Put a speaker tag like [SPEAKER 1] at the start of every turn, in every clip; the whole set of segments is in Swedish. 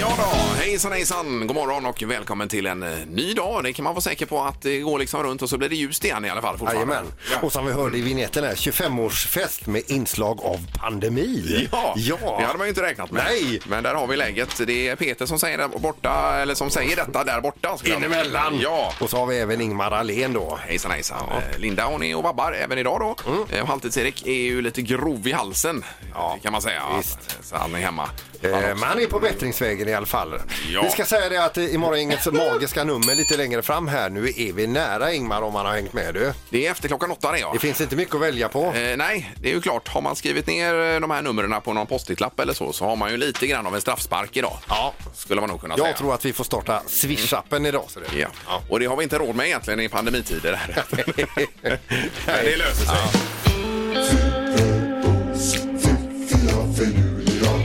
[SPEAKER 1] Ja då, hejsan hejsan, god morgon och välkommen till en eh, ny dag. Det kan man vara säker på att det går liksom runt och så blir det ljust igen i alla fall fortfarande.
[SPEAKER 2] Jajamän. Och som vi hörde i vignetten här, 25-årsfest med inslag av pandemi.
[SPEAKER 1] Ja,
[SPEAKER 2] ja.
[SPEAKER 1] det hade man ju inte räknat med.
[SPEAKER 2] Nej.
[SPEAKER 1] Men där har vi läget. Det är Peter som säger, där borta, eller som säger detta där borta. skulle jag vilja säga.
[SPEAKER 2] Inemellan.
[SPEAKER 1] Ja.
[SPEAKER 2] Och så har vi även Ingmar Ahlén då.
[SPEAKER 1] Hejsan hejsan. Eh, Linda hon är och vabbar även idag då. Mm. Och Halvtids-Erik är ju lite grov i halsen ja, kan man säga.
[SPEAKER 2] visst.
[SPEAKER 1] Så han är hemma.
[SPEAKER 2] Eh, Men han är på bättringsvägen i alla fall.
[SPEAKER 1] Ja.
[SPEAKER 2] Vi ska säga det att eh, imorgon är inget magiska nummer lite längre fram här. Nu är vi nära Ingmar om han har hängt med du.
[SPEAKER 1] Det är efter klockan åtta det ja.
[SPEAKER 2] Det finns inte mycket att välja på.
[SPEAKER 1] Eh, nej, det är ju klart. Har man skrivit ner eh, de här numren på någon postitlapp eller så, så har man ju lite grann av en straffspark idag. Ja. Skulle man nog kunna säga.
[SPEAKER 2] Jag tror att vi får starta Swish-appen idag. Så det.
[SPEAKER 1] Ja. Och det har vi inte råd med egentligen i pandemitider. Här. Men det löser sig.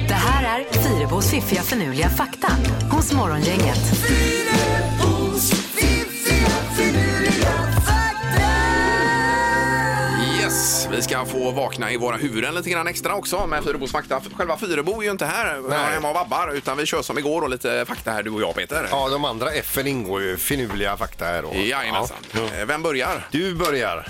[SPEAKER 3] Det här är Fyrebos fiffiga förnuliga fakta hos Morgongänget.
[SPEAKER 1] Yes, vi ska få vakna i våra huvuden lite grann extra också med Fyrebos fakta. Själva Fyrebo är ju inte här Nej. hemma och vabbar utan vi kör som igår och lite fakta här du och jag Peter.
[SPEAKER 2] Ja, de andra F'n ingår ju. Finurliga fakta här då.
[SPEAKER 1] Jajamensan. Eh, Vem börjar? Eh,
[SPEAKER 2] Du börjar.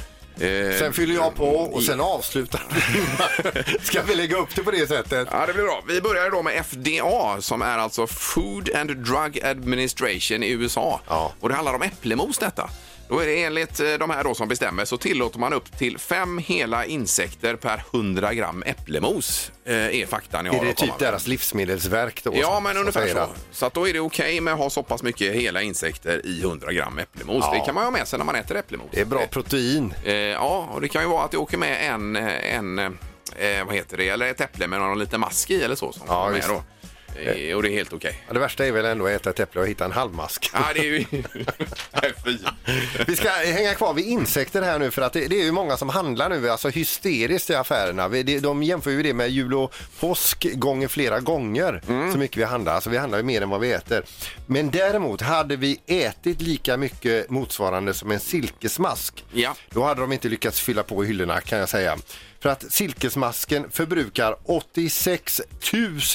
[SPEAKER 2] Sen fyller jag på och sen avslutar vi. Ska vi lägga upp det på det sättet?
[SPEAKER 1] Ja, det blir bra. Vi börjar då med FDA som är alltså Food and Drug Administration i USA.
[SPEAKER 2] Ja.
[SPEAKER 1] Och det handlar om äpplemos detta. Då är det enligt eh, de här då som bestämmer så tillåter man upp till fem hela insekter per 100 gram äpplemos. Eh, är faktan jag har
[SPEAKER 2] Är det
[SPEAKER 1] att komma
[SPEAKER 2] typ
[SPEAKER 1] med.
[SPEAKER 2] deras livsmedelsverk då?
[SPEAKER 1] Ja,
[SPEAKER 2] som-
[SPEAKER 1] men
[SPEAKER 2] som
[SPEAKER 1] ungefär
[SPEAKER 2] säger
[SPEAKER 1] så.
[SPEAKER 2] att-
[SPEAKER 1] Så att då är det okej med att ha så pass mycket hela insekter i 100 gram äpplemos.
[SPEAKER 2] Ja.
[SPEAKER 1] Det kan man ju ha med sig när man äter äpplemos.
[SPEAKER 2] Det är bra protein.
[SPEAKER 1] Eh, ja, och det kan ju vara att det åker med en, eh, en eh, vad heter det, eller ett äpple med någon liten mask i eller så. Som
[SPEAKER 2] Ja,
[SPEAKER 1] kommer med
[SPEAKER 2] visst.
[SPEAKER 1] då. Eh, och det är helt okej.
[SPEAKER 2] Ja, Det värsta är väl ändå att äta ett äpple och hitta en halvmask.
[SPEAKER 1] Ja, det är ju... Nej, fy.
[SPEAKER 2] Vi ska hänga kvar vid insekter här nu för att det, det är ju många som handlar nu alltså hysteriskt i affärerna. Vi, det, de jämför ju det med jul och påsk gånger flera gånger
[SPEAKER 1] Mm.
[SPEAKER 2] så mycket vi handlar. Alltså vi handlar ju mer än vad vi äter. Men däremot hade vi ätit lika mycket motsvarande som en silkesmask
[SPEAKER 1] Ja.
[SPEAKER 2] då hade de inte lyckats fylla på hyllorna kan jag säga. För att silkesmasken förbrukar 86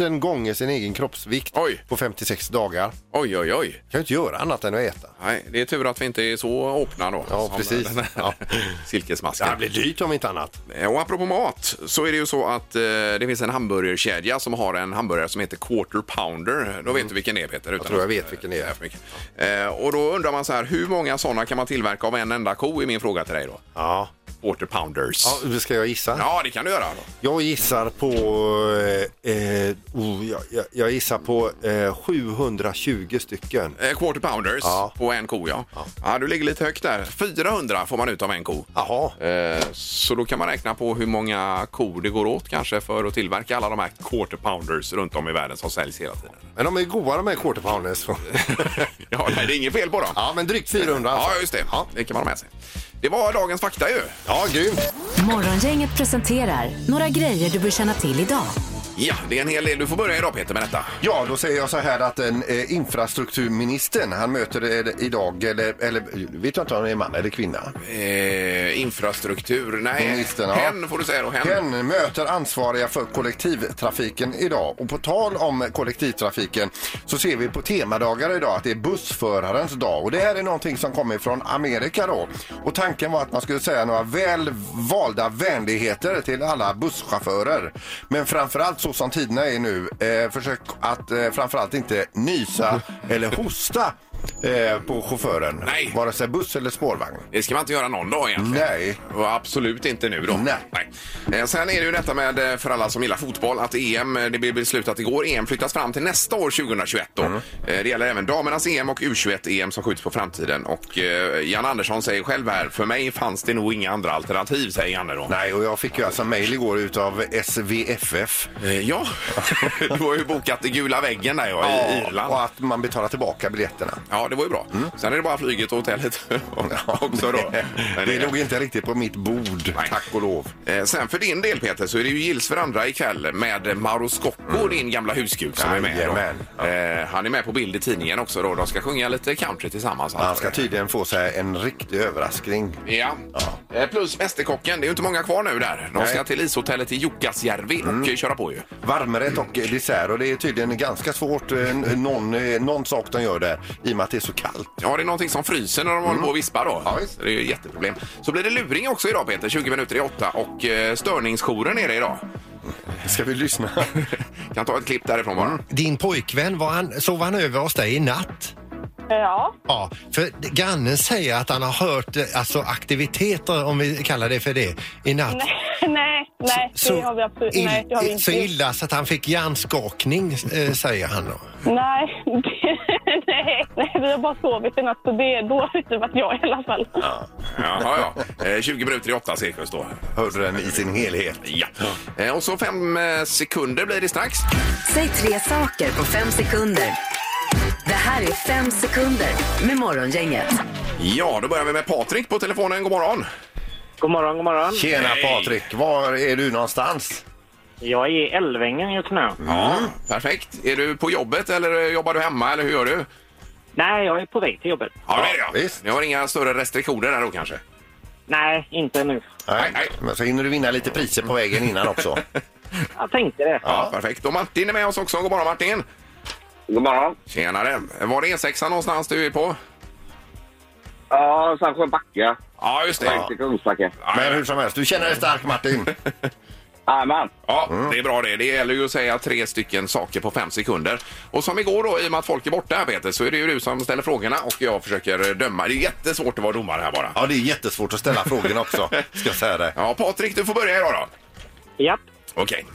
[SPEAKER 2] 000 gånger sin egen kroppsvikt
[SPEAKER 1] Oj.
[SPEAKER 2] på 56 dagar.
[SPEAKER 1] Oj, oj, oj.
[SPEAKER 2] Kan ju inte göra annat än att äta.
[SPEAKER 1] Nej, det är tur att vi inte är så öppna då.
[SPEAKER 2] Ja,
[SPEAKER 1] som
[SPEAKER 2] precis.
[SPEAKER 1] den här
[SPEAKER 2] Ja.
[SPEAKER 1] Silkesmasken.
[SPEAKER 2] dyrt om inte annat.
[SPEAKER 1] Eh, Och apropå mat så är det ju så att eh, det finns en hamburgerkedja som har en hamburgare som heter Quarter Pounder. Då vet du vilken det är Peter. Utan
[SPEAKER 2] tror Mm. jag vet vilken det är.
[SPEAKER 1] Eh, för mycket. Eh, och då undrar man så här, hur många sådana kan man tillverka av en enda ko? är min fråga till dig då.
[SPEAKER 2] Ja.
[SPEAKER 1] Quarter Pounders.
[SPEAKER 2] ja. nu Ska jag gissa?
[SPEAKER 1] Ja, det kan du göra. Då.
[SPEAKER 2] Jag gissar på... Eh, eh, oh, jag, jag, jag gissar på eh, 720 stycken.
[SPEAKER 1] Eh, Quarter Pounders
[SPEAKER 2] Ja.
[SPEAKER 1] på en ko, ja. ja. Du ligger lite högt där. 400 får man ut av en ko.
[SPEAKER 2] Jaha.
[SPEAKER 1] Eh, Så då kan man räkna på hur många kor det går åt kanske för att tillverka alla de här quarter pounders runt om i världen som säljs hela tiden.
[SPEAKER 2] Men de är goda de här quarter pounders.
[SPEAKER 1] ja, nej, det är inget fel på dem.
[SPEAKER 2] ja, men drygt 400
[SPEAKER 1] Ja,
[SPEAKER 2] alltså.
[SPEAKER 1] just det. Det kan man ha med sig. Det var dagens fakta ju.
[SPEAKER 2] Ja, grymt.
[SPEAKER 3] Morgongänget presenterar några grejer du bör känna till idag.
[SPEAKER 1] Ja, det är en hel del. Du får börja idag Peter med detta.
[SPEAKER 2] Ja, då säger jag så här att en, eh, infrastrukturministern, han möter eh, idag, eller, eller vet jag inte om han är man eller kvinna.
[SPEAKER 1] Eh, infrastruktur. Nej,
[SPEAKER 2] Ministern, ja.
[SPEAKER 1] hen får du säga då. Hen.
[SPEAKER 2] Den möter ansvariga för kollektivtrafiken idag. Och på tal om kollektivtrafiken så ser vi på temadagar idag att det är bussförarens dag. Och det här är någonting som kommer från Amerika då. Och tanken var att man skulle säga några väl valda vänligheter till alla busschaufförer. Men framförallt så som tiderna är nu, eh, försök att eh, framförallt inte nysa eller hosta eh, på chauffören.
[SPEAKER 1] Nej.
[SPEAKER 2] Vare sig buss eller spårvagn.
[SPEAKER 1] Det ska man inte göra någon dag egentligen.
[SPEAKER 2] Nej.
[SPEAKER 1] Och absolut inte nu då.
[SPEAKER 2] Nej.
[SPEAKER 1] Eh, Sen är det ju detta med, eh, för alla som gillar fotboll, att EM, eh, det blev beslutat igår, EM flyttas fram till nästa år 2021 då.
[SPEAKER 2] Mm.
[SPEAKER 1] Eh, Det gäller även damernas EM och U21-EM som skjuts på framtiden. Och eh, Jan Andersson säger själv här, för mig fanns det nog inga andra alternativ, säger Janne då.
[SPEAKER 2] Nej, och jag fick ju alltså mejl igår utav SVFF.
[SPEAKER 1] Eh, Ja, du har ju bokat i gula väggen där ja, i Irland.
[SPEAKER 2] Och att man betalar tillbaka biljetterna.
[SPEAKER 1] Ja, det var ju bra.
[SPEAKER 2] Mm.
[SPEAKER 1] Sen är det bara flyget och hotellet också då. Men
[SPEAKER 2] det låg inte riktigt på mitt bord,
[SPEAKER 1] Nej.
[SPEAKER 2] tack och lov.
[SPEAKER 1] Eh, Sen för din del Peter så är det ju Gills verandra ikväll med Mauro Scocco,
[SPEAKER 2] Mm.
[SPEAKER 1] din gamla husgud som är med.
[SPEAKER 2] Jajamän.
[SPEAKER 1] Då. Eh, Han är med på bild i tidningen också då. De ska sjunga lite country tillsammans.
[SPEAKER 2] Han ska tydligen få sig en riktig överraskning.
[SPEAKER 1] Ja. Eh, Plus Mästerkocken, det är ju inte många kvar nu där. De ska
[SPEAKER 2] Nej. Mm.
[SPEAKER 1] till ishotellet i Jukkasjärvi och eh, köra på ju.
[SPEAKER 2] Varmrätt och dessert och det är tydligen ganska svårt, eh, n- någon, eh, någon sak de gör där i och med att det är så kallt.
[SPEAKER 1] Ja, det är någonting som fryser när de håller på och vispar då.
[SPEAKER 2] Mm. Ja, visst.
[SPEAKER 1] det är ju ett jätteproblem. Så blir det luring också idag Peter, 20 minuter i åtta och eh, störningsjouren är det idag.
[SPEAKER 2] Ska vi lyssna?
[SPEAKER 1] Kan ta ett klipp därifrån
[SPEAKER 2] Mm.
[SPEAKER 1] bara.
[SPEAKER 4] Din pojkvän, var han, sov han över hos dig i natt?
[SPEAKER 5] Ja,
[SPEAKER 4] Ja, för grannen säger att han har hört eh, alltså, aktiviteter, om vi kallar det för det, i natt.
[SPEAKER 5] nej, nej, nej, det har vi absolut
[SPEAKER 4] ill-
[SPEAKER 5] nej, det har vi inte
[SPEAKER 4] så
[SPEAKER 5] gjort.
[SPEAKER 4] illa så att han fick hjärnskakning, eh, säger han då.
[SPEAKER 5] Nej, nej, nej, vi har bara sovit i natt så det, då har det inte varit jag i alla fall.
[SPEAKER 1] Jaha, ja. Eh, 20 minuter i åtta cirkus då.
[SPEAKER 2] Hörde den i sin helhet.
[SPEAKER 1] Ja. Eh, Och så fem eh, sekunder blir det strax.
[SPEAKER 3] Säg tre saker på fem sekunder. Det här är fem sekunder med Morgongänget.
[SPEAKER 1] Ja, då börjar vi med Patrik på telefonen. God morgon!
[SPEAKER 6] God morgon, god morgon.
[SPEAKER 2] Tjena
[SPEAKER 1] Hej.
[SPEAKER 2] Patrik, var är du någonstans?
[SPEAKER 6] Jag är i Älvängen just nu.
[SPEAKER 1] Ja, perfekt. Är du på jobbet eller eh, jobbar du hemma eller hur gör du?
[SPEAKER 6] Nej, jag är på väg till jobbet.
[SPEAKER 1] Ja, det är jag.
[SPEAKER 2] visst.
[SPEAKER 1] Ni har inga större restriktioner där då kanske?
[SPEAKER 6] Nej, inte nu.
[SPEAKER 1] Nej, nej.
[SPEAKER 2] Men så hinner du vinna lite priser på vägen innan också.
[SPEAKER 6] Jag tänkte det.
[SPEAKER 1] Ja, perfekt. Och Martin är med oss också. God morgon Martin!
[SPEAKER 7] God morgon.
[SPEAKER 1] Tjenare! Var det E6 någonstans du är på?
[SPEAKER 7] Ja, Sandsjöbacka.
[SPEAKER 1] Ja, just det.
[SPEAKER 7] Ja. Till Kungsbacka.
[SPEAKER 2] Men hur som helst, du känner dig stark Martin.
[SPEAKER 7] Jajamän.
[SPEAKER 1] Ja, det är bra det. Det gäller ju att säga tre stycken saker på fem sekunder. Och som igår då, i och med att folk är borta här Peter, så är det ju du som ställer frågorna och jag försöker eh, döma. Det är jättesvårt att vara domare här bara.
[SPEAKER 2] Ja, det är jättesvårt att ställa frågorna också, ska jag säga det.
[SPEAKER 1] Ja, Patrik, du får börja idag då.
[SPEAKER 6] Japp.
[SPEAKER 1] Okej.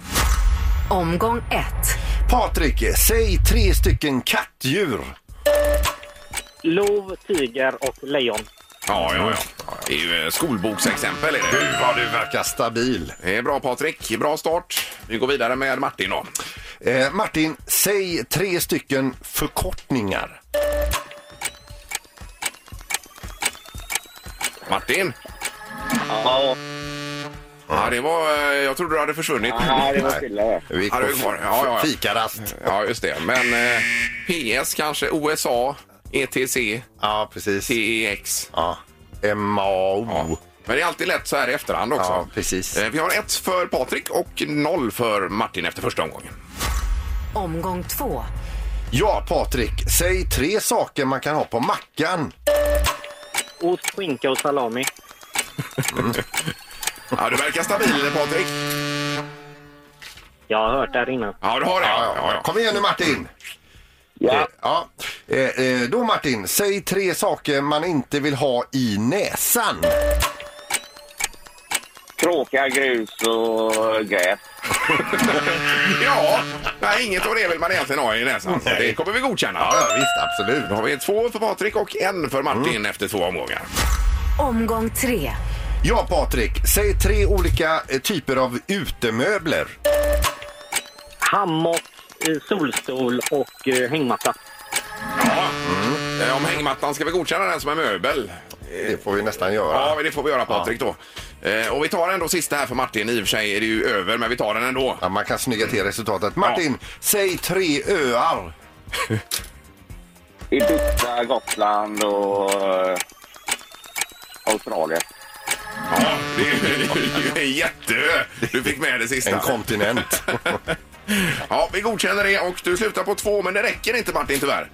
[SPEAKER 3] Omgång ett.
[SPEAKER 2] Patrik, säg tre stycken kattdjur.
[SPEAKER 6] Lov, tiger och lejon.
[SPEAKER 1] Ja, ja, ja. Det är ju eh, skolboksexempel är det.
[SPEAKER 2] Vad du verkar stabil.
[SPEAKER 1] Det är bra Patrik, bra start. Vi går vidare med Martin då.
[SPEAKER 2] Eh, Martin, säg tre stycken förkortningar.
[SPEAKER 1] Martin?
[SPEAKER 7] Ja,
[SPEAKER 1] Ja, det var... eh, Jag trodde du hade försvunnit.
[SPEAKER 7] nej, det var stilla det.
[SPEAKER 2] Vi gick
[SPEAKER 1] Ja,
[SPEAKER 2] på
[SPEAKER 1] det är kvar. Ja, ja, ja.
[SPEAKER 2] fikarast.
[SPEAKER 1] Ja, just det. Men eh, PS kanske, USA, ETC,
[SPEAKER 2] Ja, precis.
[SPEAKER 1] TEX.
[SPEAKER 2] Ja. MAO.
[SPEAKER 1] Ja. E Men det är alltid lätt så här i efterhand också.
[SPEAKER 2] Ja, precis.
[SPEAKER 1] Eh, Vi har ett för Patrik och noll för Martin efter första omgången.
[SPEAKER 3] Omgång två.
[SPEAKER 2] Ja, Patrik, säg tre saker man kan ha på mackan.
[SPEAKER 6] Ost, skinka och salami.
[SPEAKER 1] Ja, du verkar stabil Patrik.
[SPEAKER 6] Jag har hört det här innan.
[SPEAKER 1] Ja, du har det. Ja, ja, ja.
[SPEAKER 2] Kom igen nu Martin.
[SPEAKER 7] Ja.
[SPEAKER 2] Ja. Eh, eh, då Martin, säg tre saker man inte vill ha i näsan.
[SPEAKER 7] Kråka, grus och gräs.
[SPEAKER 1] ja nej, inget av det vill man egentligen ha i näsan. Så Det kommer vi godkänna.
[SPEAKER 2] Ja, visst, absolut.
[SPEAKER 1] Då har vi två för Patrik och en för Martin
[SPEAKER 2] Mm.
[SPEAKER 1] efter två omgångar.
[SPEAKER 3] Omgång tre.
[SPEAKER 2] Ja, Patrik, säg tre olika eh, typer av utemöbler.
[SPEAKER 6] Hammock, eh, solstol och eh, hängmatta.
[SPEAKER 1] Ja. Eh, Om hängmattan ska vi godkänna den som en möbel.
[SPEAKER 2] Det får vi nästan
[SPEAKER 1] Ja,
[SPEAKER 2] göra.
[SPEAKER 1] men det får vi göra Patrik då. Eh, Och vi tar ändå sista här för Martin. I och för sig är det ju över, men vi tar den ändå.
[SPEAKER 2] Ja, man kan snygga till resultatet. Martin, säg tre öar.
[SPEAKER 7] Ibiza, Gotland och eh, Australien.
[SPEAKER 1] Ja, det är ju- det är ju en jätteö. Du fick med det sista.
[SPEAKER 2] En kontinent.
[SPEAKER 1] Ja, vi godkänner det och du slutar på två, men det räcker inte Martin tyvärr.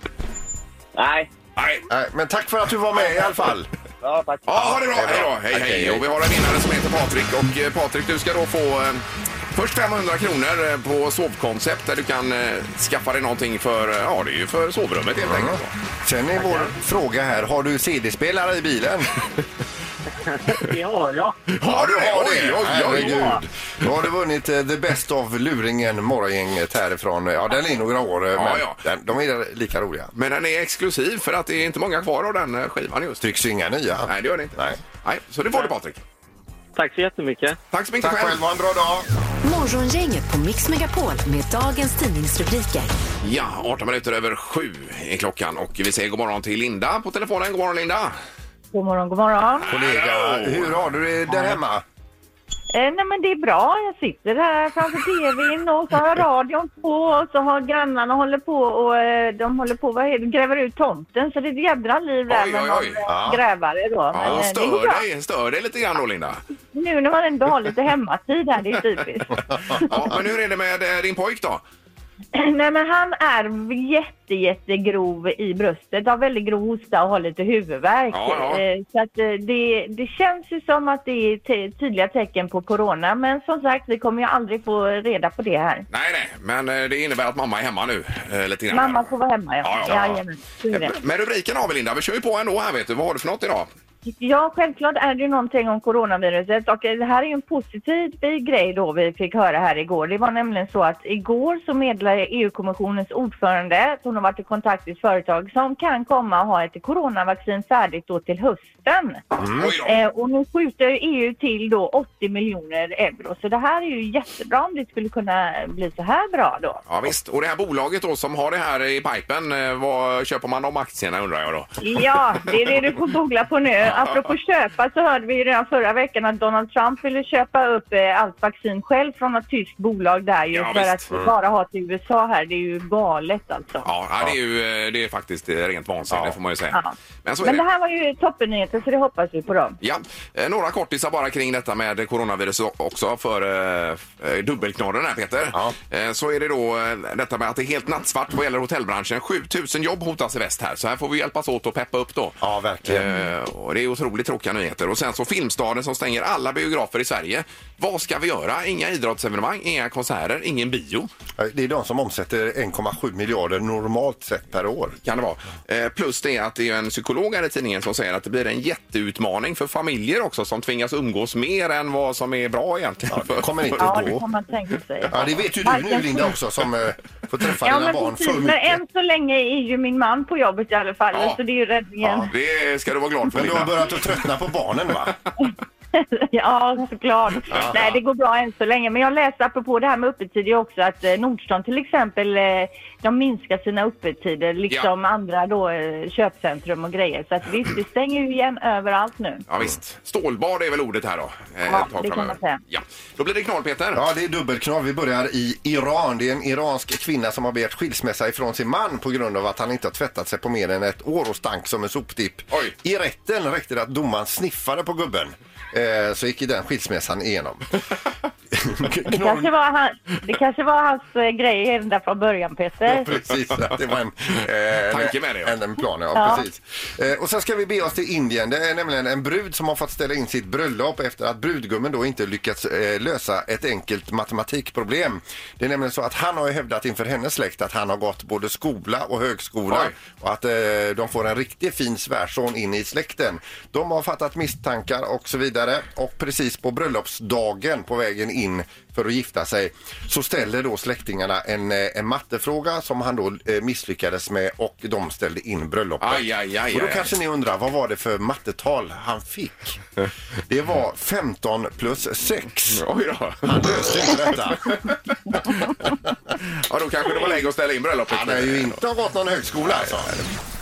[SPEAKER 7] Nej.
[SPEAKER 1] Nej.
[SPEAKER 2] Nej, men tack för att du var med i alla fall.
[SPEAKER 7] Ja, tack.
[SPEAKER 1] Ja, ha det bra. Hej då. Hej,
[SPEAKER 2] Okej,
[SPEAKER 1] hej.
[SPEAKER 2] hej.
[SPEAKER 1] Och vi har en vinnare som heter Patrik och eh, Patrik, du ska då få eh, först 500 kronor eh, på sovkoncept där du kan eh, skaffa dig någonting för, eh, ja, det är ju för sovrummet helt enkelt.
[SPEAKER 2] Sen är vår fråga här, har du CD-spelare i bilen?
[SPEAKER 6] Det har jag.
[SPEAKER 1] Ja, du har det. Oj, oj, oj.
[SPEAKER 2] Herregud. Då har du vunnit eh, The Best of Luringen, morgongänget härifrån. Ja, den är några år, eh,
[SPEAKER 1] Ja,
[SPEAKER 2] men
[SPEAKER 1] ja.
[SPEAKER 2] Den, de är lika roliga.
[SPEAKER 1] Men den är exklusiv för att det är inte många kvar av den eh, skivan just.
[SPEAKER 2] Trycks ju inga nya.
[SPEAKER 1] Nej, det gör det inte.
[SPEAKER 2] Nej.
[SPEAKER 1] Nej, så det får du Patrik.
[SPEAKER 6] Tack så jättemycket.
[SPEAKER 1] Tack så mycket
[SPEAKER 2] Tack själv, ha en bra dag.
[SPEAKER 3] Morgongänget på Mix Megapol med dagens tidningsrubriker.
[SPEAKER 1] Ja, 18 minuter över sju är klockan och vi säger god morgon till Linda på telefonen. God morgon Linda!
[SPEAKER 8] God morgon, god morgon.
[SPEAKER 2] Kollega, hur har du det där hemma?
[SPEAKER 8] Eh, nej men det är bra, jag sitter här framför tvn och så har jag radion på och så har grannarna håller på och eh, de håller på, vad heter det, gräver ut tomten så det är ett jädra liv där
[SPEAKER 1] Oj,
[SPEAKER 8] med
[SPEAKER 1] oj,
[SPEAKER 8] någon
[SPEAKER 1] oj.
[SPEAKER 8] eh,
[SPEAKER 2] Ja.
[SPEAKER 8] grävare då. Men,
[SPEAKER 1] Ja,
[SPEAKER 8] eh,
[SPEAKER 1] och
[SPEAKER 8] det går bra.
[SPEAKER 1] stör dig, stör dig lite grann då Linda.
[SPEAKER 8] Nu när man ändå har lite hemmatid här, det är typiskt.
[SPEAKER 1] Ja, men hur är det med eh, din pojk då?
[SPEAKER 8] nej men han är jätte, jättegrov i bröstet, har väldigt grov hosta och har lite huvudvärk.
[SPEAKER 1] Ja, ja.
[SPEAKER 8] Eh, så att eh, det, det känns ju som att det är te- tydliga tecken på corona men som sagt vi kommer ju aldrig få reda på det här.
[SPEAKER 1] Nej, nej, men eh, det innebär att mamma är hemma nu eh, lite grann.
[SPEAKER 8] Mamma får vara hemma, ja.
[SPEAKER 1] Ja, Eh, ja, ja.
[SPEAKER 8] Jajamän, så är det.
[SPEAKER 1] Men rubriken har vi Linda, vi kör ju på ändå här vet du. Vad har du för något idag?
[SPEAKER 8] ja, självklart är det ju någonting om coronaviruset och det här är ju en positiv grej då vi fick höra här igår. Det var nämligen så att igår så meddelade EU-kommissionens ordförande att hon har varit i kontakt med ett företag som kan komma att ha ett coronavaccin färdigt då till hösten.
[SPEAKER 1] Oj då.
[SPEAKER 8] Eh, och nu skjuter EU till då 80 miljoner euro så det här är ju jättebra om det skulle kunna bli så här bra då.
[SPEAKER 1] Ja, visst. Och det här bolaget då som har det här i pipen, eh, vad köper man de aktierna undrar jag då?
[SPEAKER 8] Ja, det är det du får googla på nu. Apropå köpa så hörde vi ju redan förra veckan att Donald Trump ville köpa upp eh, allt vaccin själv från ett tyskt bolag där ju
[SPEAKER 1] Ja,
[SPEAKER 8] för
[SPEAKER 1] visst.
[SPEAKER 8] att bara ha till USA här. Det är ju galet alltså.
[SPEAKER 1] Ja, ja, det är ju eh, det är faktiskt eh, rent vansinne
[SPEAKER 2] Ja.
[SPEAKER 1] får man ju säga.
[SPEAKER 8] Ja.
[SPEAKER 1] Men så alltså, är
[SPEAKER 8] Men det
[SPEAKER 1] det.
[SPEAKER 8] här var ju toppennyheter så det hoppas vi på dem.
[SPEAKER 1] Ja, eh, några kortisar bara kring detta med coronavirus o- också för eh, f- eh, dubbelknorren här Peter.
[SPEAKER 2] Ja.
[SPEAKER 1] Eh, Så är det då eh, detta med att det är helt nattsvart vad gäller hotellbranschen. 7000 jobb hotas i väst här så här får vi hjälpas åt och peppa upp då.
[SPEAKER 2] Ja, verkligen.
[SPEAKER 1] Eh, Och det är otroligt tråkiga nyheter. Och sen så Filmstaden som stänger alla biografer i Sverige. Vad ska vi göra? Inga idrottsevenemang, inga konserter, ingen bio.
[SPEAKER 2] Eh, Det är de som omsätter 1,7 miljarder normalt sett per år.
[SPEAKER 1] kan det vara. Eh, plus det är att det är en psykolog här i tidningen som säger att det blir en jätteutmaning för familjer också som tvingas umgås mer än vad som är bra egentligen.
[SPEAKER 2] det kommer inte
[SPEAKER 8] Ja,
[SPEAKER 2] gå.
[SPEAKER 8] det får man tänka sig.
[SPEAKER 2] Ja, det vet ju du nu Linda också som eh, får träffa
[SPEAKER 8] Ja,
[SPEAKER 2] dina
[SPEAKER 8] men
[SPEAKER 2] barn
[SPEAKER 8] precis.
[SPEAKER 2] för
[SPEAKER 8] Men
[SPEAKER 2] mycket.
[SPEAKER 8] än så länge är ju min man på jobbet i alla fall
[SPEAKER 1] Ja.
[SPEAKER 8] så det är ju räddningen.
[SPEAKER 1] Det ska du vara glad för
[SPEAKER 2] Men du har
[SPEAKER 1] Linda.
[SPEAKER 2] börjat att tröttna på barnen va?
[SPEAKER 8] Ja, såklart. Nej, det går bra än så länge. Men jag läste apropå det här med öppettider också att eh, Nordstan till exempel, eh, de minskar sina öppettider liksom andra då eh, köpcentrum och grejer. Så att visst, det stänger ju igen överallt nu.
[SPEAKER 1] Ja, visst. Stålbad är väl ordet här då. eh,
[SPEAKER 8] Ja,
[SPEAKER 1] ett tag
[SPEAKER 8] det kan
[SPEAKER 1] framöver.
[SPEAKER 8] man säga.
[SPEAKER 1] Ja. Då blir det knall Peter.
[SPEAKER 2] Ja, det är dubbelknorr. Vi börjar i Iran. Det är en iransk kvinna som har begärt skilsmässa ifrån sin man på grund av att han inte har tvättat sig på mer än ett år och stank som en soptipp.
[SPEAKER 1] Oj.
[SPEAKER 2] I rätten räckte det att domaren sniffade på gubben. Eh, så gick ju den skilsmässan igenom.
[SPEAKER 8] Det kanske var, han, det kanske var hans eh, grej ända från början, Peter.
[SPEAKER 2] precis. Att det var en, eh,
[SPEAKER 1] Tanke med det, ja.
[SPEAKER 2] En, en plan, ja,
[SPEAKER 8] Ja.
[SPEAKER 2] precis. Eh, och sen ska vi be oss till Indien. Det är nämligen en brud som har fått ställa in sitt bröllop efter att brudgummen då inte lyckats eh, lösa ett enkelt matematikproblem. Det är nämligen så att han har ju hävdat inför hennes släkt att han har gått både skola och högskola
[SPEAKER 1] Oj.
[SPEAKER 2] och att eh, de får en riktigt fin svärson in i släkten. De har fattat misstankar och så vidare och precis på bröllopsdagen på vägen in för att gifta sig så ställer då släktingarna en, eh, en mattefråga som han då eh, misslyckades med och de ställde in bröllopet.
[SPEAKER 1] Aj, aj, aj,
[SPEAKER 2] och då
[SPEAKER 1] aj.
[SPEAKER 2] kanske ni undrar vad var det för mattetal han fick? Det var 15 plus 6.
[SPEAKER 1] Oj då.
[SPEAKER 2] Han löste inte detta.
[SPEAKER 1] Ja, då kanske det var läge att ställa in bröllopet.
[SPEAKER 2] Han har ju inte gått någon högskola alltså.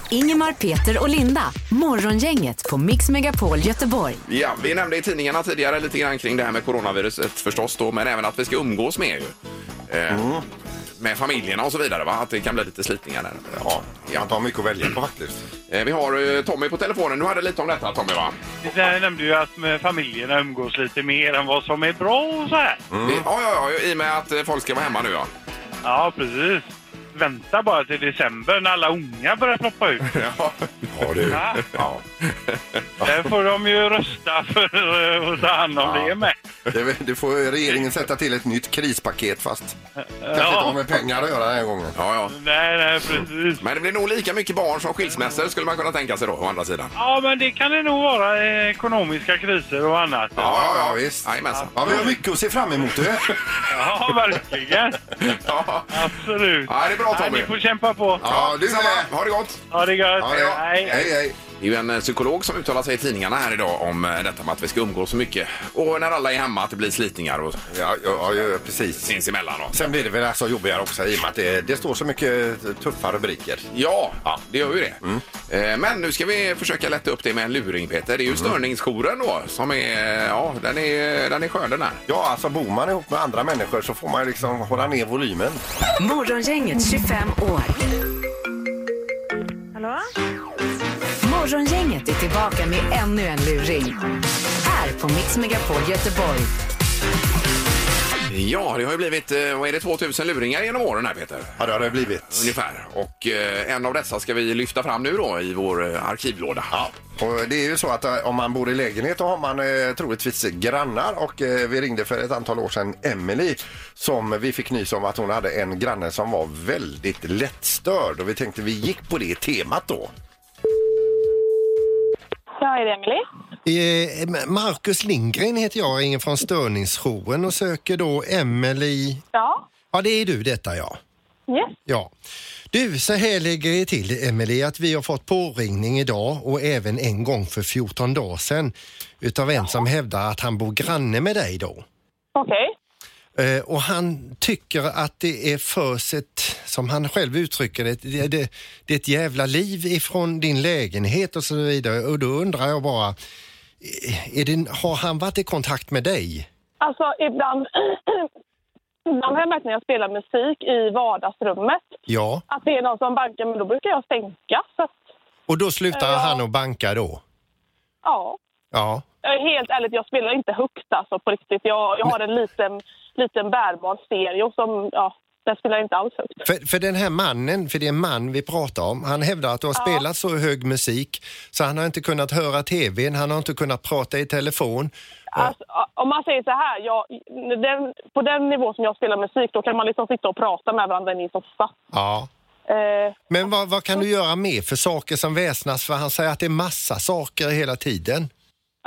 [SPEAKER 3] Ingemar, Peter och Linda. Morgongänget på Mix Megapol Göteborg.
[SPEAKER 1] Ja, vi nämnde i tidningarna tidigare lite grann kring det här med coronaviruset förstås då, men även att vi ska umgås med ju. Eh, Med familjerna och så vidare, va? Att det kan bli lite slitningar där.
[SPEAKER 2] Ja, han har mycket att välja på faktiskt.
[SPEAKER 1] Eh, Vi har eh, Tommy på telefonen. Du hade lite om detta Tommy va?
[SPEAKER 9] Där nämnde ju att med familjerna umgås lite mer än vad som är bra och så här.
[SPEAKER 1] Det- Ja, ja, ja, i och med att eh, folk ska vara hemma nu ja.
[SPEAKER 9] Ja, precis. Vänta bara till december när alla unga börjar ploppa ut.
[SPEAKER 1] Ja,
[SPEAKER 2] Ja, du.
[SPEAKER 9] Ja,
[SPEAKER 2] Ja.
[SPEAKER 9] där får de ju rösta för eh, att ta hand om det med.
[SPEAKER 2] Det, det får ju regeringen sätta till ett nytt krispaket fast kanske inte har
[SPEAKER 9] Ja,
[SPEAKER 2] med pengar att göra den här gången.
[SPEAKER 1] ja, ja.
[SPEAKER 9] nej, nej, precis.
[SPEAKER 1] Men det blir nog lika mycket barn som skilsmässor skulle man kunna tänka sig då, å andra sidan.
[SPEAKER 9] Ja, men det kan det nog vara. eh, Ekonomiska kriser och annat.
[SPEAKER 2] Ja, ja, visst.
[SPEAKER 1] Jajamensan.
[SPEAKER 2] Ja, vi har mycket att se fram emot. Du.
[SPEAKER 9] Ja, verkligen.
[SPEAKER 1] Ja.
[SPEAKER 9] Absolut.
[SPEAKER 1] Ja, det är bra,
[SPEAKER 9] Nej,
[SPEAKER 1] Tommy.
[SPEAKER 9] Ni får kämpa på.
[SPEAKER 2] Ja, du
[SPEAKER 1] Detsamma.
[SPEAKER 2] med.
[SPEAKER 1] Ha det gott!
[SPEAKER 9] Ha det gött.
[SPEAKER 2] Ja, ja.
[SPEAKER 9] Hej.
[SPEAKER 2] Hej, hej.
[SPEAKER 1] Det är ju en eh, psykolog som uttalar sig i tidningarna här idag om eh, detta med att vi ska umgås så mycket. Och när alla är hemma att det blir slitningar och
[SPEAKER 2] Ja, ja, ja, precis.
[SPEAKER 1] sinsemellan. Och.
[SPEAKER 2] Sen blir det väl alltså jobbigare också i och med att det, det står så mycket eh, tuffa rubriker.
[SPEAKER 1] Ja, det gör ju det. Eh, Men nu ska vi försöka lätta upp det med en luring, Peter. Det är ju störningsjouren då som är... eh, Ja, den är, den är skön den här.
[SPEAKER 2] Ja, alltså bor man ihop med andra människor så får man ju liksom hålla ner volymen.
[SPEAKER 3] Morgongänget 25 år.
[SPEAKER 10] Hallå?
[SPEAKER 3] Morgongänget är tillbaka med ännu en luring. Här på Mix Megapol Göteborg.
[SPEAKER 1] Ja, det har ju blivit eh, vad är det, 2000 luringar genom åren här, Peter.
[SPEAKER 2] Ja, det har det blivit.
[SPEAKER 1] Ungefär. Och eh, en av dessa ska vi lyfta fram nu då i vår eh, arkivlåda. Ja.
[SPEAKER 2] Och det är ju så att eh, om man bor i lägenhet då har man eh, troligtvis grannar och eh, vi ringde för ett antal år sedan Emily som vi fick nys om att hon hade en granne som var väldigt lättstörd och vi tänkte vi gick på det temat då.
[SPEAKER 8] Ja, är det Emily?
[SPEAKER 4] Eh, Marcus Lindgren heter jag, ringer från störningsjouren och söker då Emily.
[SPEAKER 8] Ja.
[SPEAKER 4] Ja, det är du detta ja.
[SPEAKER 8] Yes.
[SPEAKER 4] Ja. Du, så här ligger det till, Emily, att vi har fått påringning idag och även en gång för 14 dagar sedan utav en som hävdar att han bor granne med dig då.
[SPEAKER 8] Okej.
[SPEAKER 4] Eh, Och han tycker att det är förs ett, som han själv uttrycker det, det, det, det är ett jävla liv ifrån din lägenhet och så vidare. Och då undrar jag bara, eh, är det, har han varit i kontakt med dig?
[SPEAKER 8] Alltså, ibland... ibland har jag märkt när jag spelar musik i vardagsrummet
[SPEAKER 4] Ja.
[SPEAKER 8] att det är någon som bankar, men då brukar jag stänka. Så att,
[SPEAKER 4] Och då slutar
[SPEAKER 8] Ja.
[SPEAKER 4] han att banka då?
[SPEAKER 8] ja.
[SPEAKER 4] Ja.
[SPEAKER 8] Jag är Helt ärligt, jag spelar inte högt alltså, på riktigt. Jag, jag har en liten, liten bärbar stereo som... Ja, den spelar inte alls högt.
[SPEAKER 4] För, för den här mannen, för det är en man vi pratar om, han hävdar att du har spelat så hög musik så han har inte kunnat höra tvn, han har inte kunnat prata i telefon.
[SPEAKER 8] Alltså, om man säger så här, jag, den, på den nivå som jag spelar musik då kan man liksom sitta och prata med varandra i en soffa.
[SPEAKER 4] Ja.
[SPEAKER 8] Eh,
[SPEAKER 4] Men vad, vad kan du göra mer för saker som väsnas? För han säger att det är massa saker hela tiden.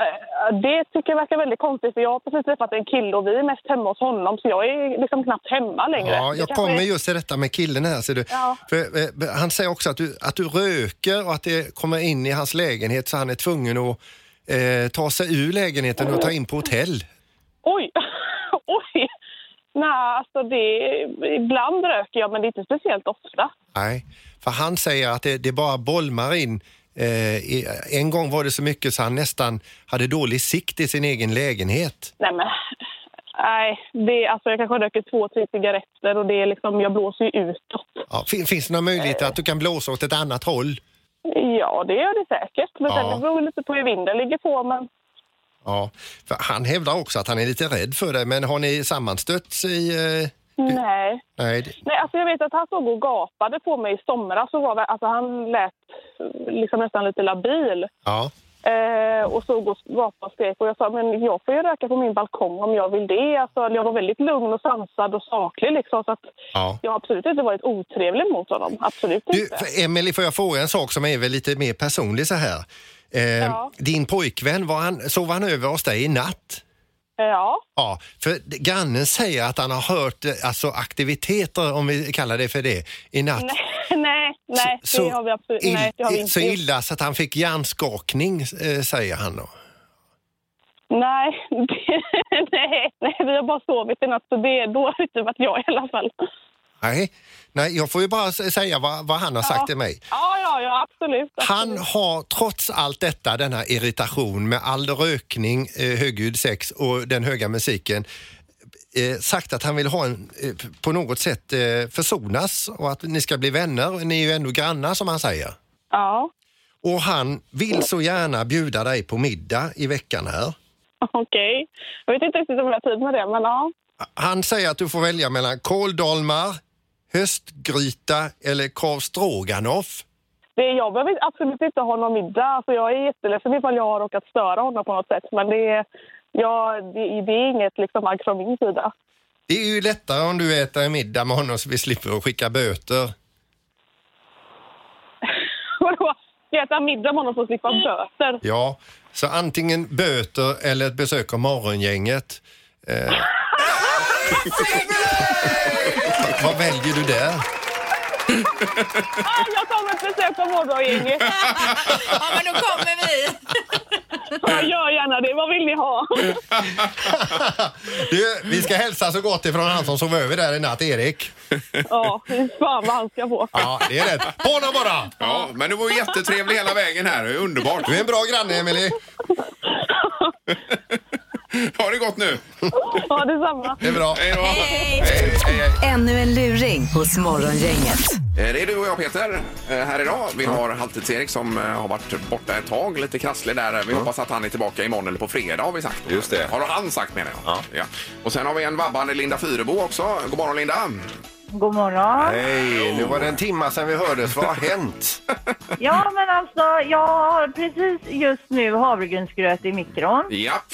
[SPEAKER 8] eh, det tycker jag verkar väldigt konstigt för jag har precis träffat en kille och vi är mest hemma hos honom så jag är liksom knappt hemma längre.
[SPEAKER 4] Ja,
[SPEAKER 8] Det
[SPEAKER 4] jag
[SPEAKER 8] kanske
[SPEAKER 4] kommer
[SPEAKER 8] är-
[SPEAKER 4] just till detta med killen här. Ser du.
[SPEAKER 8] Ja.
[SPEAKER 4] För, eh, han säger också att du, att du röker och att det kommer in i hans lägenhet så han är tvungen att eh, ta sig ur lägenheten och ta in på hotell.
[SPEAKER 8] Oj! Oj! Nej, alltså det... Ibland röker jag men det är inte speciellt ofta.
[SPEAKER 4] Nej, för han säger att det, det bara bolmar in. Eh, i- en gång var det så mycket så han nästan hade dålig sikt i sin egen lägenhet.
[SPEAKER 8] Nej men... Nej, det, alltså jag kanske röker två, tre cigaretter och det är liksom, jag blåser ju utåt.
[SPEAKER 4] Ja, fin, finns det några möjligheter att du kan blåsa åt ett annat håll?
[SPEAKER 8] Ja, det gör det säkert. Men sen
[SPEAKER 4] Ja.
[SPEAKER 8] det beror lite på hur vinden ligger på. Men
[SPEAKER 4] Ja, för han hävdar också att han är lite rädd för dig, men har ni sammanstötts i... Eh,
[SPEAKER 8] nej.
[SPEAKER 4] nej, det-
[SPEAKER 8] Nej, alltså jag vet att han såg och gapade på mig i somras. Och var, vä- alltså han lät eh, liksom nästan lite labil
[SPEAKER 4] ja.
[SPEAKER 8] eh, och såg och gapade och skrek. Och jag sa men jag får ju röka på min balkong om jag vill det. Alltså, jag var väldigt lugn och sansad och saklig. Liksom, så att
[SPEAKER 4] Ja.
[SPEAKER 8] Jag har absolut inte varit otrevlig mot honom. Absolut
[SPEAKER 4] Du,
[SPEAKER 8] inte.
[SPEAKER 4] för Emily, får jag fråga en sak som är väl lite mer personlig så här? Eh,
[SPEAKER 8] Ja.
[SPEAKER 4] Din pojkvän, var han, sov han över hos dig i natt?
[SPEAKER 8] Ja.
[SPEAKER 4] Ja, för grannen säger att han har hört eh, alltså, aktiviteter, om vi kallar det för det, i natt.
[SPEAKER 8] Nej, nej, nej
[SPEAKER 4] Så-
[SPEAKER 8] det har vi absolut
[SPEAKER 4] ill-
[SPEAKER 8] nej, det har vi
[SPEAKER 4] Så
[SPEAKER 8] inte. gjort.
[SPEAKER 4] illa så att han fick hjärnskakning, eh, säger han då.
[SPEAKER 8] Nej, det, nej, nej, vi har bara sovit i natt så det, då har det inte varit jag i alla fall.
[SPEAKER 4] Nej, nej jag får ju bara s- säga vad, vad han har sagt till mig.
[SPEAKER 8] Ja, ja, ja, absolut.
[SPEAKER 4] Han
[SPEAKER 8] absolut.
[SPEAKER 4] har trots allt detta, denna irritation med all rökning, eh, högljudd sex och den höga musiken, eh, sagt att han vill ha en, eh, p- på något sätt eh, försonas och att ni ska bli vänner. Ni är ju ändå grannar som han säger.
[SPEAKER 8] Ja,
[SPEAKER 4] Och han vill så gärna bjuda dig på middag i veckan här.
[SPEAKER 8] okej. Jag vet inte riktigt om jag har tid med det, men ja.
[SPEAKER 4] Han säger att du får välja mellan kåldolmar, höstgryta eller korv stroganoff.
[SPEAKER 8] Det, jag behöver absolut inte ha någon middag. Alltså, jag är jätteledsen ifall jag har råkat störa honom på något sätt. Men det, ja, det, det är inget liksom, agg från min sida.
[SPEAKER 4] Det är ju lättare om du äter en middag med honom så vi slipper att skicka böter.
[SPEAKER 8] Vadå? Ska jag äta middag med honom för att slippa böter?
[SPEAKER 4] Ja, så antingen böter eller ett besök av morgongänget. Eh. Vad väljer du där?
[SPEAKER 5] Ah, jag kommer att besöka morgongänget.
[SPEAKER 11] ja, men då kommer vi.
[SPEAKER 5] Ja, gör gärna det. Vad vill ni ha?
[SPEAKER 4] Du, vi ska hälsa så gott ifrån han som sov över där i natt, Erik.
[SPEAKER 5] Ja, fy fan vad han ska få.
[SPEAKER 4] Ja, det är rätt. På honom bara!
[SPEAKER 1] Ja, men du var ju jättetrevlig hela vägen här. Det är Underbart.
[SPEAKER 4] Du är en bra granne, Emily.
[SPEAKER 1] Ha det gott nu.
[SPEAKER 5] Ja, detsamma.
[SPEAKER 4] Det är bra.
[SPEAKER 1] Hej då.
[SPEAKER 11] Hej.
[SPEAKER 1] Hej, hej, hej.
[SPEAKER 3] Ännu en luring hos Morgongänget.
[SPEAKER 1] Eh, Det är du och jag Peter eh, här idag. Vi har Halvtids-Erik som eh, har varit borta ett tag, lite krasslig där. Vi hoppas att han är tillbaka imorgon eller på fredag har vi sagt.
[SPEAKER 12] Just det.
[SPEAKER 1] Har han sagt menar jag. Ja. Och sen har vi en vabbande Linda Fyrebo också. God morgon Linda.
[SPEAKER 8] God morgon.
[SPEAKER 2] Hej, nu var det en timma sedan vi hördes. Vad har hänt?
[SPEAKER 8] Ja, men alltså, jag har precis just nu havregrynsgröt i mikron.
[SPEAKER 1] Japp.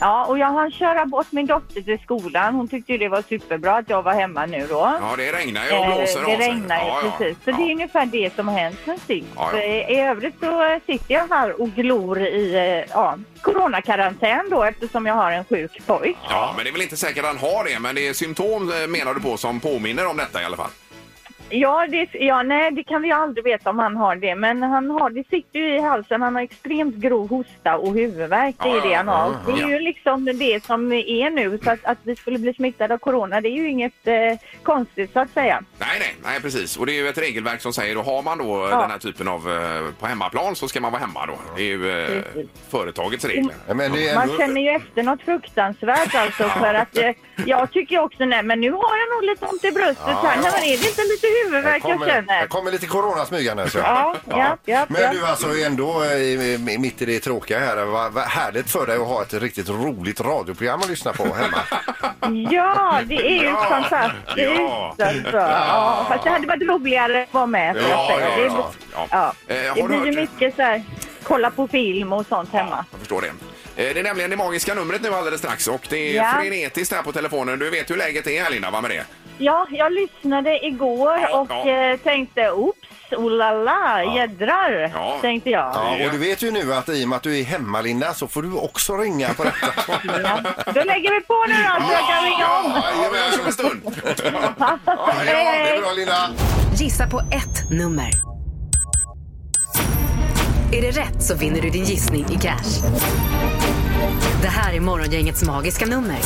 [SPEAKER 8] Ja, och jag hann köra bort min dotter till skolan. Hon tyckte ju det var superbra att jag var hemma nu då.
[SPEAKER 1] Ja, det regnar ju och
[SPEAKER 8] Eh,
[SPEAKER 1] blåser av
[SPEAKER 8] det
[SPEAKER 1] sig.
[SPEAKER 8] regnar ju
[SPEAKER 1] ja, ja.
[SPEAKER 8] precis. Så
[SPEAKER 1] ja.
[SPEAKER 8] det är ungefär det som har hänt sen sist.
[SPEAKER 1] Ja, ja.
[SPEAKER 8] Eh, I övrigt så eh, sitter jag här och glor i eh, ja, coronakarantän då eftersom jag har en sjuk pojk.
[SPEAKER 1] Ja, men det är väl inte säkert han har det, men det är symptom eh, menar du på som påminner om detta i alla fall.
[SPEAKER 8] Ja, det, ja, nej, det kan vi ju aldrig veta om han har det. Men han har, det sitter ju i halsen. Han har extremt grov hosta och huvudvärk. Det
[SPEAKER 1] Ja,
[SPEAKER 8] är
[SPEAKER 1] ja,
[SPEAKER 8] det han har.
[SPEAKER 1] ja,
[SPEAKER 8] Det
[SPEAKER 1] ja.
[SPEAKER 8] är ju liksom det som är nu. Så att, att vi skulle bli smittade av corona, det är ju inget eh, konstigt så att säga.
[SPEAKER 1] Nej, nej, nej, precis. Och det är ju ett regelverk som säger att har man då eh,
[SPEAKER 8] Ja.
[SPEAKER 1] den här typen av eh, på hemmaplan så ska man vara hemma då. Det är ju eh, företagets
[SPEAKER 8] Mm.
[SPEAKER 1] regler.
[SPEAKER 2] Ja, Men det är
[SPEAKER 8] Man
[SPEAKER 2] ändå...
[SPEAKER 8] känner ju efter något fruktansvärt alltså. För att eh, jag tycker också, nej men nu har jag nog lite ont i bröstet
[SPEAKER 2] Ja,
[SPEAKER 8] här.
[SPEAKER 2] ja.
[SPEAKER 8] Nej, men är det inte lite
[SPEAKER 2] Här
[SPEAKER 8] huvudvärk jag
[SPEAKER 2] kommer,
[SPEAKER 8] känner?
[SPEAKER 2] här kommer lite corona smygande. Så.
[SPEAKER 8] Ja, ja, ja,
[SPEAKER 2] Men
[SPEAKER 8] ja.
[SPEAKER 2] du alltså är ändå eh, i- i- mitt i det tråkiga här. Vad vad härligt för dig att ha ett riktigt roligt radioprogram att lyssna på hemma.
[SPEAKER 8] Ja, det är ju
[SPEAKER 1] Ja.
[SPEAKER 8] fantastiskt.
[SPEAKER 1] Ja.
[SPEAKER 8] Alltså. Ja. Fast det hade varit roligare att vara med. får jag
[SPEAKER 1] Ja,
[SPEAKER 8] säga.
[SPEAKER 1] ja,
[SPEAKER 8] det,
[SPEAKER 1] ja, ja. Eh,
[SPEAKER 8] ja.
[SPEAKER 1] har
[SPEAKER 8] det
[SPEAKER 1] du
[SPEAKER 8] blir ju
[SPEAKER 1] hört-
[SPEAKER 8] mycket så här, kolla på film och sånt hemma.
[SPEAKER 1] Jag förstår det. Eh, Det är nämligen det magiska numret nu alldeles strax och det är
[SPEAKER 8] Ja.
[SPEAKER 1] frenetiskt här på telefonen. Du vet hur läget är här Linda, va med det?
[SPEAKER 8] Ja, jag lyssnade igår
[SPEAKER 1] Ja,
[SPEAKER 8] och
[SPEAKER 1] ja.
[SPEAKER 8] Eh, tänkte oops, oh la la, jädrar,
[SPEAKER 1] Ja.
[SPEAKER 8] tänkte jag.
[SPEAKER 2] Ja, och du vet ju nu att i och med att du är hemma Linda så får du också ringa på detta.
[SPEAKER 8] Ja. Då lägger vi på nu då så jag kan ringa om.
[SPEAKER 1] Ja, ja, men jag kör en stund.
[SPEAKER 2] Ja, det är bra Linda.
[SPEAKER 3] Gissa på ett nummer. Är det rätt så vinner du din gissning i cash. Det här är Morgongängets magiska nummer.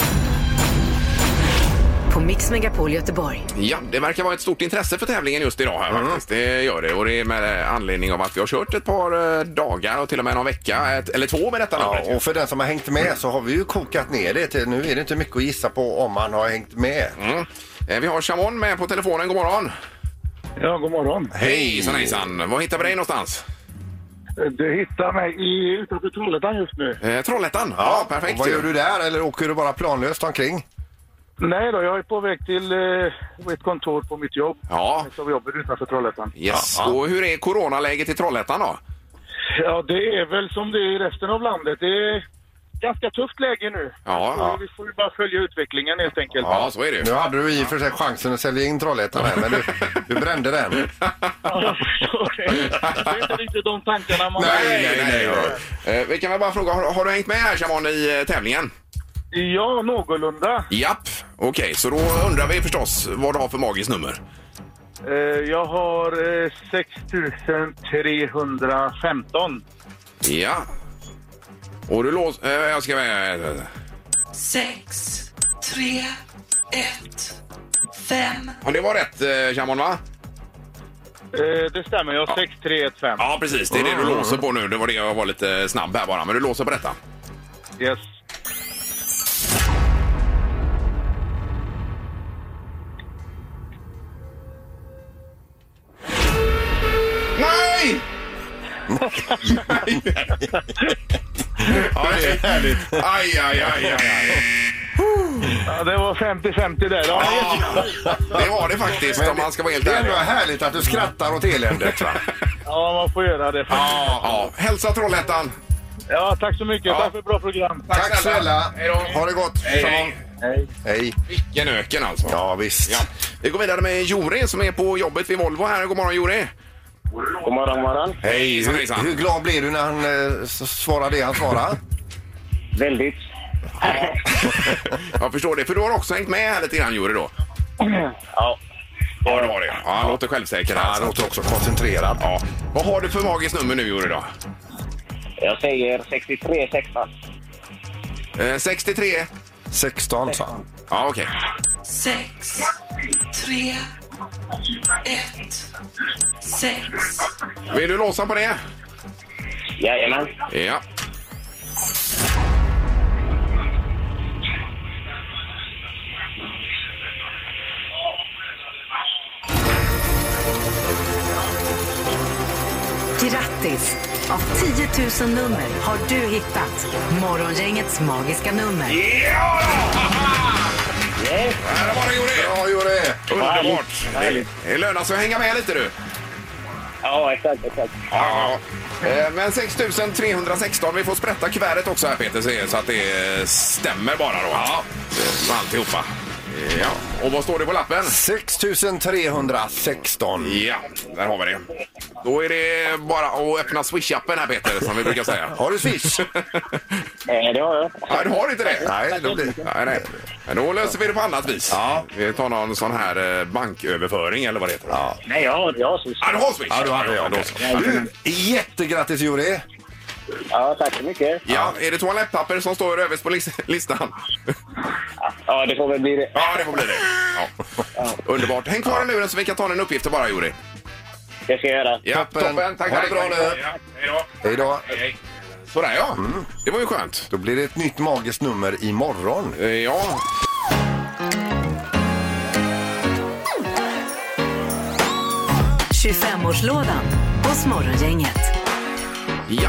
[SPEAKER 3] På Mix Megapol Göteborg.
[SPEAKER 1] Ja, det verkar vara ett stort intresse för tävlingen just idag här faktiskt. Det gör det och det är med anledning av att vi har kört ett par eh, dagar och till och med någon vecka, ett, eller två med detta
[SPEAKER 2] Ja,
[SPEAKER 1] numret. ju.
[SPEAKER 2] och för den som har hängt med så har vi ju kokat ner det till nu är det inte mycket att gissa på om man har hängt med.
[SPEAKER 1] Mm. Eh, Vi har Shamon med på telefonen. God morgon!
[SPEAKER 9] Ja, god morgon.
[SPEAKER 1] Hejsan hejsan! Var hittar vi dig någonstans?
[SPEAKER 9] Eh, Du hittar mig i, utanför Trollhättan just nu.
[SPEAKER 1] Eh, Trollhättan! Ja, perfekt
[SPEAKER 2] Och vad
[SPEAKER 1] ju.
[SPEAKER 2] gör du där eller åker du bara planlöst omkring?
[SPEAKER 9] Nej då, jag är på väg till eh, ett kontor på mitt jobb.
[SPEAKER 1] Ja,
[SPEAKER 9] Som jobbar utanför Trollhättan.
[SPEAKER 1] yes. Och hur är coronaläget i Trollhättan då?
[SPEAKER 9] Ja, det är väl som det är i resten av landet. Det är ganska tufft läge nu.
[SPEAKER 1] Ja, ja.
[SPEAKER 9] Så Vi får ju bara följa utvecklingen helt enkelt.
[SPEAKER 1] Ja, så är det ju.
[SPEAKER 2] Nu hade du i och för sig chansen att sälja in Trollhättan här, men du, du brände den.
[SPEAKER 9] Ja, jag förstår det. Det är inte riktigt de tankarna man
[SPEAKER 1] Nej, nej, nej. Eh, Vi kan väl bara fråga, har, har du hängt med här Shamon i eh, tävlingen?
[SPEAKER 9] Ja, någorlunda.
[SPEAKER 1] Japp, okej. så då undrar vi förstås vad du har för magiskt nummer.
[SPEAKER 9] Eh, Jag har eh, 6315.
[SPEAKER 1] Ja. Och du låser... Eh, jag ska... eh,
[SPEAKER 12] Sex, tre, ett, fem.
[SPEAKER 1] Ja, det var rätt eh, Shamon va?
[SPEAKER 9] Eh, Det stämmer, jag har 6315.
[SPEAKER 1] Ja, precis. Det är det du låser på nu. Det var det jag var lite snabb här bara. Men du låser på detta.
[SPEAKER 9] Yes.
[SPEAKER 1] Nej! ja, det är härligt. Aj, aj, aj, aj.
[SPEAKER 9] Ja, det var 50-50 där. Ja,
[SPEAKER 1] Ja, det var det faktiskt om man ska vara helt
[SPEAKER 2] Det är ändå
[SPEAKER 1] ärlig.
[SPEAKER 2] härligt att du skrattar åt eländet. Va?
[SPEAKER 9] ja, man får göra det. faktiskt.
[SPEAKER 1] Ja, ja. Hälsa Trollhättan!
[SPEAKER 9] Ja, tack så mycket. Tack för ett bra program.
[SPEAKER 2] Tack snälla.
[SPEAKER 1] Hej då.
[SPEAKER 2] Ha det gott.
[SPEAKER 1] Hej,
[SPEAKER 2] Shalom.
[SPEAKER 1] hej.
[SPEAKER 2] Hej.
[SPEAKER 1] Vilken öken alltså.
[SPEAKER 2] Ja, visst.
[SPEAKER 1] Ja. Vi går vidare med Jori som är på jobbet vid Volvo här. God morgon Jori!
[SPEAKER 7] God morgon, morgon.
[SPEAKER 1] Hej!
[SPEAKER 2] Hur, hur glad blev du när han eh, s- svarade det han svarade?
[SPEAKER 7] Väldigt.
[SPEAKER 1] Jag förstår det, för du har också hängt med här lite grann Jori då.
[SPEAKER 7] Ja.
[SPEAKER 1] Ja, det var det. Ja, han låter självsäker. Han låter också koncentrerad. Ja. Vad har du för magiskt nummer nu, Juri, då?
[SPEAKER 7] Jag säger 63 16.
[SPEAKER 1] Eh, 63?
[SPEAKER 2] 16, sa han.
[SPEAKER 1] Ja, okej.
[SPEAKER 12] sex, tre, ett, sex.
[SPEAKER 1] Vill du låsa på det?
[SPEAKER 7] Jajamän.
[SPEAKER 1] Ja.
[SPEAKER 3] Grattis! Av 10 000 nummer har du hittat Morgongängets magiska nummer.
[SPEAKER 1] Ja! Där var det, Juri!
[SPEAKER 2] Ja, Juri!
[SPEAKER 1] Underbart! Det, det lönar sig att hänga med lite, du.
[SPEAKER 7] Ja, exakt, exakt.
[SPEAKER 1] Ja. Eh, Men 6 316, vi får sprätta kuvertet också här Peter säger, så att det eh, stämmer bara då. Ja. Alltihopa. Ja. Och vad står det på lappen?
[SPEAKER 2] 6316.
[SPEAKER 1] Ja, där har vi det. Då är det bara att öppna Swish-appen här Peter, som vi brukar säga.
[SPEAKER 2] Har du Swish?
[SPEAKER 7] Eh, det har jag.
[SPEAKER 1] Ja, du har inte det?
[SPEAKER 2] Nej, då blir...
[SPEAKER 1] Nej, nej. Men då löser vi det på annat vis. Ja. Vi tar någon sån här eh, banköverföring eller vad det heter. Ja.
[SPEAKER 7] Nej, jag har, jag har Swish.
[SPEAKER 1] Ja, du har Swish?
[SPEAKER 2] Ja, då hade jag
[SPEAKER 1] Då
[SPEAKER 2] det.
[SPEAKER 1] så.
[SPEAKER 2] Du, jättegrattis Juri!
[SPEAKER 7] Ja, tack så mycket.
[SPEAKER 1] Ja, är det toalettpapper som står överst på lis- listan?
[SPEAKER 7] Ja, det får väl bli det.
[SPEAKER 1] Ja, det får bli det. Ja. Underbart. Häng kvar i luren så vi kan ta den uppgiften bara, Juri.
[SPEAKER 7] Det ska jag göra.
[SPEAKER 1] Ja,
[SPEAKER 2] Toppen.
[SPEAKER 1] Tack,
[SPEAKER 2] Ha
[SPEAKER 1] tack.
[SPEAKER 2] det bra nu.
[SPEAKER 1] Ja, Hej då.
[SPEAKER 2] Hej då!
[SPEAKER 1] Hej, hej. Sådär, ja. Det var ju skönt.
[SPEAKER 2] Då blir det ett nytt magiskt nummer imorgon.
[SPEAKER 1] Eh, Ja.
[SPEAKER 3] Ja. 25-årslådan hos Morgongänget.
[SPEAKER 1] ja.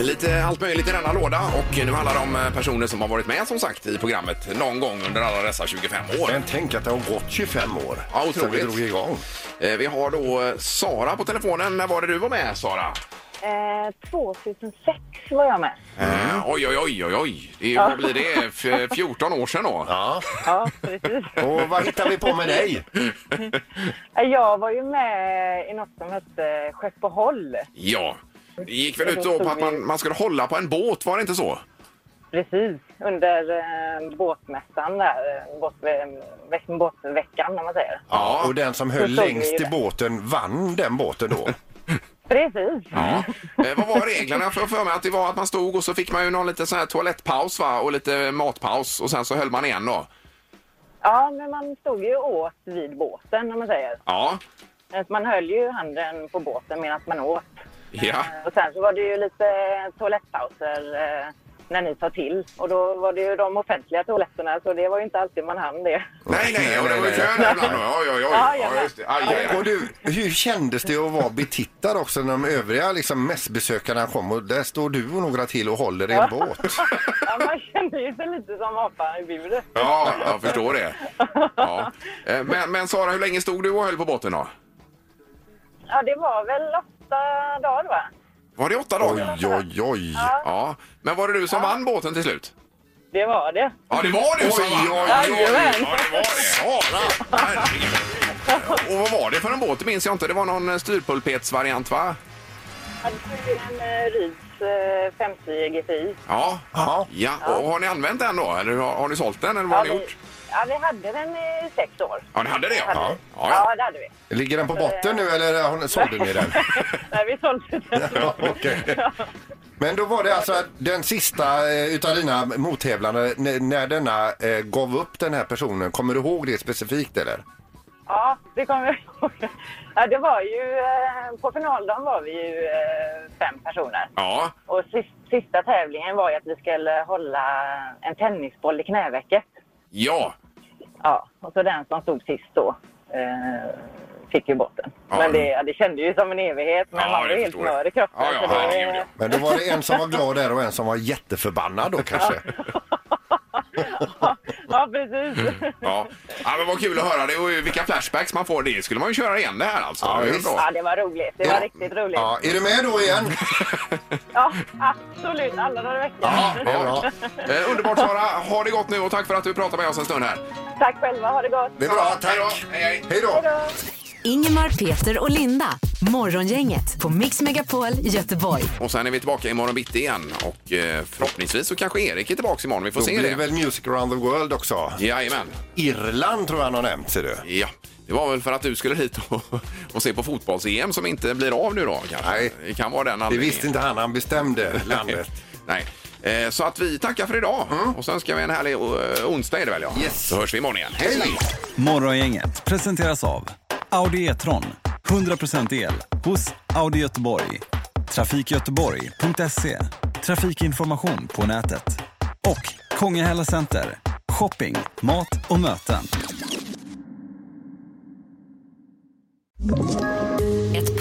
[SPEAKER 1] Lite allt möjligt i denna låda och nu handlar det om eh, personer som har varit med som sagt i programmet någon gång under alla dessa 25 år.
[SPEAKER 2] Men tänk att det har gått 25 år
[SPEAKER 1] Ja, otroligt.
[SPEAKER 2] vi drog igång.
[SPEAKER 1] Eh, Vi har då eh, Sara på telefonen. När var det du var med Sara?
[SPEAKER 8] Eh, 2006 var jag med.
[SPEAKER 1] Eh, Oj, oj, oj, oj, oj. Det är, ju- Vad blir det? F- 14 år sedan då?
[SPEAKER 2] Ja.
[SPEAKER 8] Ja, precis.
[SPEAKER 2] Och vad hittar vi på med dig?
[SPEAKER 8] Eh, Jag var ju med i något som hette Skeppeholm.
[SPEAKER 1] Ja. Det gick väl ut då på att man, man skulle hålla på en båt, var det inte så?
[SPEAKER 8] Precis, under eh, båtmässan där, eh, båt, eh, båtveckan om man säger.
[SPEAKER 1] Ja.
[SPEAKER 2] Och den som höll
[SPEAKER 8] Så såg vi
[SPEAKER 2] längst
[SPEAKER 8] ju
[SPEAKER 2] i
[SPEAKER 8] det.
[SPEAKER 2] båten vann den båten då.
[SPEAKER 8] Precis,
[SPEAKER 1] Eh, vad var reglerna? För, för mig att det var att man stod och så fick man ju någon liten sån här toalettpaus va? och lite matpaus och sen så höll man igen då.
[SPEAKER 8] ja men man stod ju åt vid båten om man säger.
[SPEAKER 1] Ja,
[SPEAKER 8] Så Man höll ju handen på båten medan man åt.
[SPEAKER 1] ja,
[SPEAKER 8] Eh, Och sen så var det ju lite toalettpauser eh, när ni sa till och då var det ju de offentliga toaletterna så det var ju inte alltid man hann det.
[SPEAKER 1] nej, nej, och det var ju
[SPEAKER 2] Nej, nej,
[SPEAKER 1] kö där ibland. Oj, oj, oj.
[SPEAKER 8] Ja,
[SPEAKER 1] Ja,
[SPEAKER 8] ja.
[SPEAKER 1] just det. Aj, aj,
[SPEAKER 2] Och
[SPEAKER 1] aj.
[SPEAKER 2] du, hur kändes det att vara betittad också när de övriga liksom, mässbesökarna kom och där står du och några till och håller i en båt?
[SPEAKER 8] Ja, man kände ju sig lite som apan i buret.
[SPEAKER 1] Ja, jag förstår det. Ja. Eh, Men, men Sara, hur länge stod du och höll på båten då?
[SPEAKER 8] Ja, det var väl åtta dagar va?
[SPEAKER 1] Var det åtta dagar?
[SPEAKER 2] Oj, oj, oj.
[SPEAKER 1] Ja. Men var det du som vann båten till slut?
[SPEAKER 8] Det var det.
[SPEAKER 1] Ja, det var du som
[SPEAKER 2] Oj,
[SPEAKER 1] vann!
[SPEAKER 2] oj,
[SPEAKER 1] Ja, det
[SPEAKER 8] Jajamän.
[SPEAKER 1] var det. Sara! Herregud. Och vad var det för en båt? Det minns jag inte. Det var någon eh, styrpulpetsvariant, va?
[SPEAKER 8] Ja, det var ju en eh, Ryds eh, 50 GTI.
[SPEAKER 1] Ja.
[SPEAKER 2] Ja.
[SPEAKER 1] Ja, och har ni använt den då? Eller har, har ni sålt den? Eller vad
[SPEAKER 8] Ja,
[SPEAKER 1] har ni
[SPEAKER 8] vi,
[SPEAKER 1] gjort?
[SPEAKER 8] ja, vi hade den i sex år.
[SPEAKER 1] Ja, ni hade det? Ja.
[SPEAKER 8] Hade vi.
[SPEAKER 1] Ja, ja.
[SPEAKER 8] det hade vi.
[SPEAKER 2] Ligger den på botten nu eller har ni- sålde ni den?
[SPEAKER 8] Nej, vi sålde den.
[SPEAKER 2] Ja, okej. Men då var det alltså att den sista eh, utav dina mottävlande när, när denna eh, gav upp den här personen. Kommer du ihåg det specifikt eller?
[SPEAKER 8] Ja, det kommer jag ihåg. Ja, det var ju... eh, På finaldagen var vi ju eh, fem personer.
[SPEAKER 1] ja.
[SPEAKER 8] Och sist, sista tävlingen var ju att vi skulle hålla en tennisboll i knävecket.
[SPEAKER 1] Ja.
[SPEAKER 8] Ja, och så den som stod sist då eh, fick ju bort den.
[SPEAKER 1] Ja.
[SPEAKER 8] Men det, ja, det kändes ju som en evighet, men
[SPEAKER 1] Ja,
[SPEAKER 8] man var
[SPEAKER 1] det
[SPEAKER 8] helt
[SPEAKER 1] förstår jag.
[SPEAKER 8] mör i kroppen.
[SPEAKER 1] Ja, ja,
[SPEAKER 8] så det-
[SPEAKER 1] herregud, ja.
[SPEAKER 2] Men då var det en som var glad där och en som var jätteförbannad då kanske.
[SPEAKER 8] ja, precis.
[SPEAKER 1] Mm. Ja. ja, men vad kul att höra det och vilka flashbacks man får. Det skulle man ju köra igen det här alltså.
[SPEAKER 2] Ja,
[SPEAKER 1] Det är
[SPEAKER 2] visst.
[SPEAKER 1] bra.
[SPEAKER 8] Ja, det var roligt. Det var riktigt roligt.
[SPEAKER 2] Ja, är du med då igen?
[SPEAKER 8] Ja, absolut. Alla dagar i veckan.
[SPEAKER 2] Ja, det är bra.
[SPEAKER 1] Eh, underbart Sara, ha det gott nu och tack för att du pratade med oss en stund här.
[SPEAKER 8] Tack själva. Ha det gott.
[SPEAKER 2] Det är bra,
[SPEAKER 1] Hej då.
[SPEAKER 2] tack.
[SPEAKER 1] Hej, hej.
[SPEAKER 2] Hej då.
[SPEAKER 3] Ingemar, Peter och Linda. Morgongänget på Mix Megapol Göteborg.
[SPEAKER 1] Och sen är vi tillbaka imorgon bitti igen och eh, förhoppningsvis så kanske Erik är tillbaka imorgon. Vi får
[SPEAKER 2] Då
[SPEAKER 1] se
[SPEAKER 2] blir det
[SPEAKER 1] det.
[SPEAKER 2] väl Music around the world också.
[SPEAKER 1] Jajamän.
[SPEAKER 2] Irland tror jag han har nämnt, ser du.
[SPEAKER 1] Ja. Det var väl för att du skulle hit och, och se på fotbolls-EM som inte blir av nu då kanske? Nej. Det kan vara den
[SPEAKER 2] Det visste inte han, han bestämde
[SPEAKER 1] Nej.
[SPEAKER 2] landet.
[SPEAKER 1] Nej. Eh, Så att vi tackar för idag
[SPEAKER 2] Mm.
[SPEAKER 1] och så önskar vi en härlig eh, onsdag är det väl ja. Yes. Så hörs vi imorgon igen. Hej!
[SPEAKER 13] Morgongänget presenteras av Audi E-tron. 100% el hos Audi Göteborg. Trafikgöteborg.se. Trafikinformation på nätet. Och Kongahälla Center. Shopping, mat och möten.
[SPEAKER 3] Ett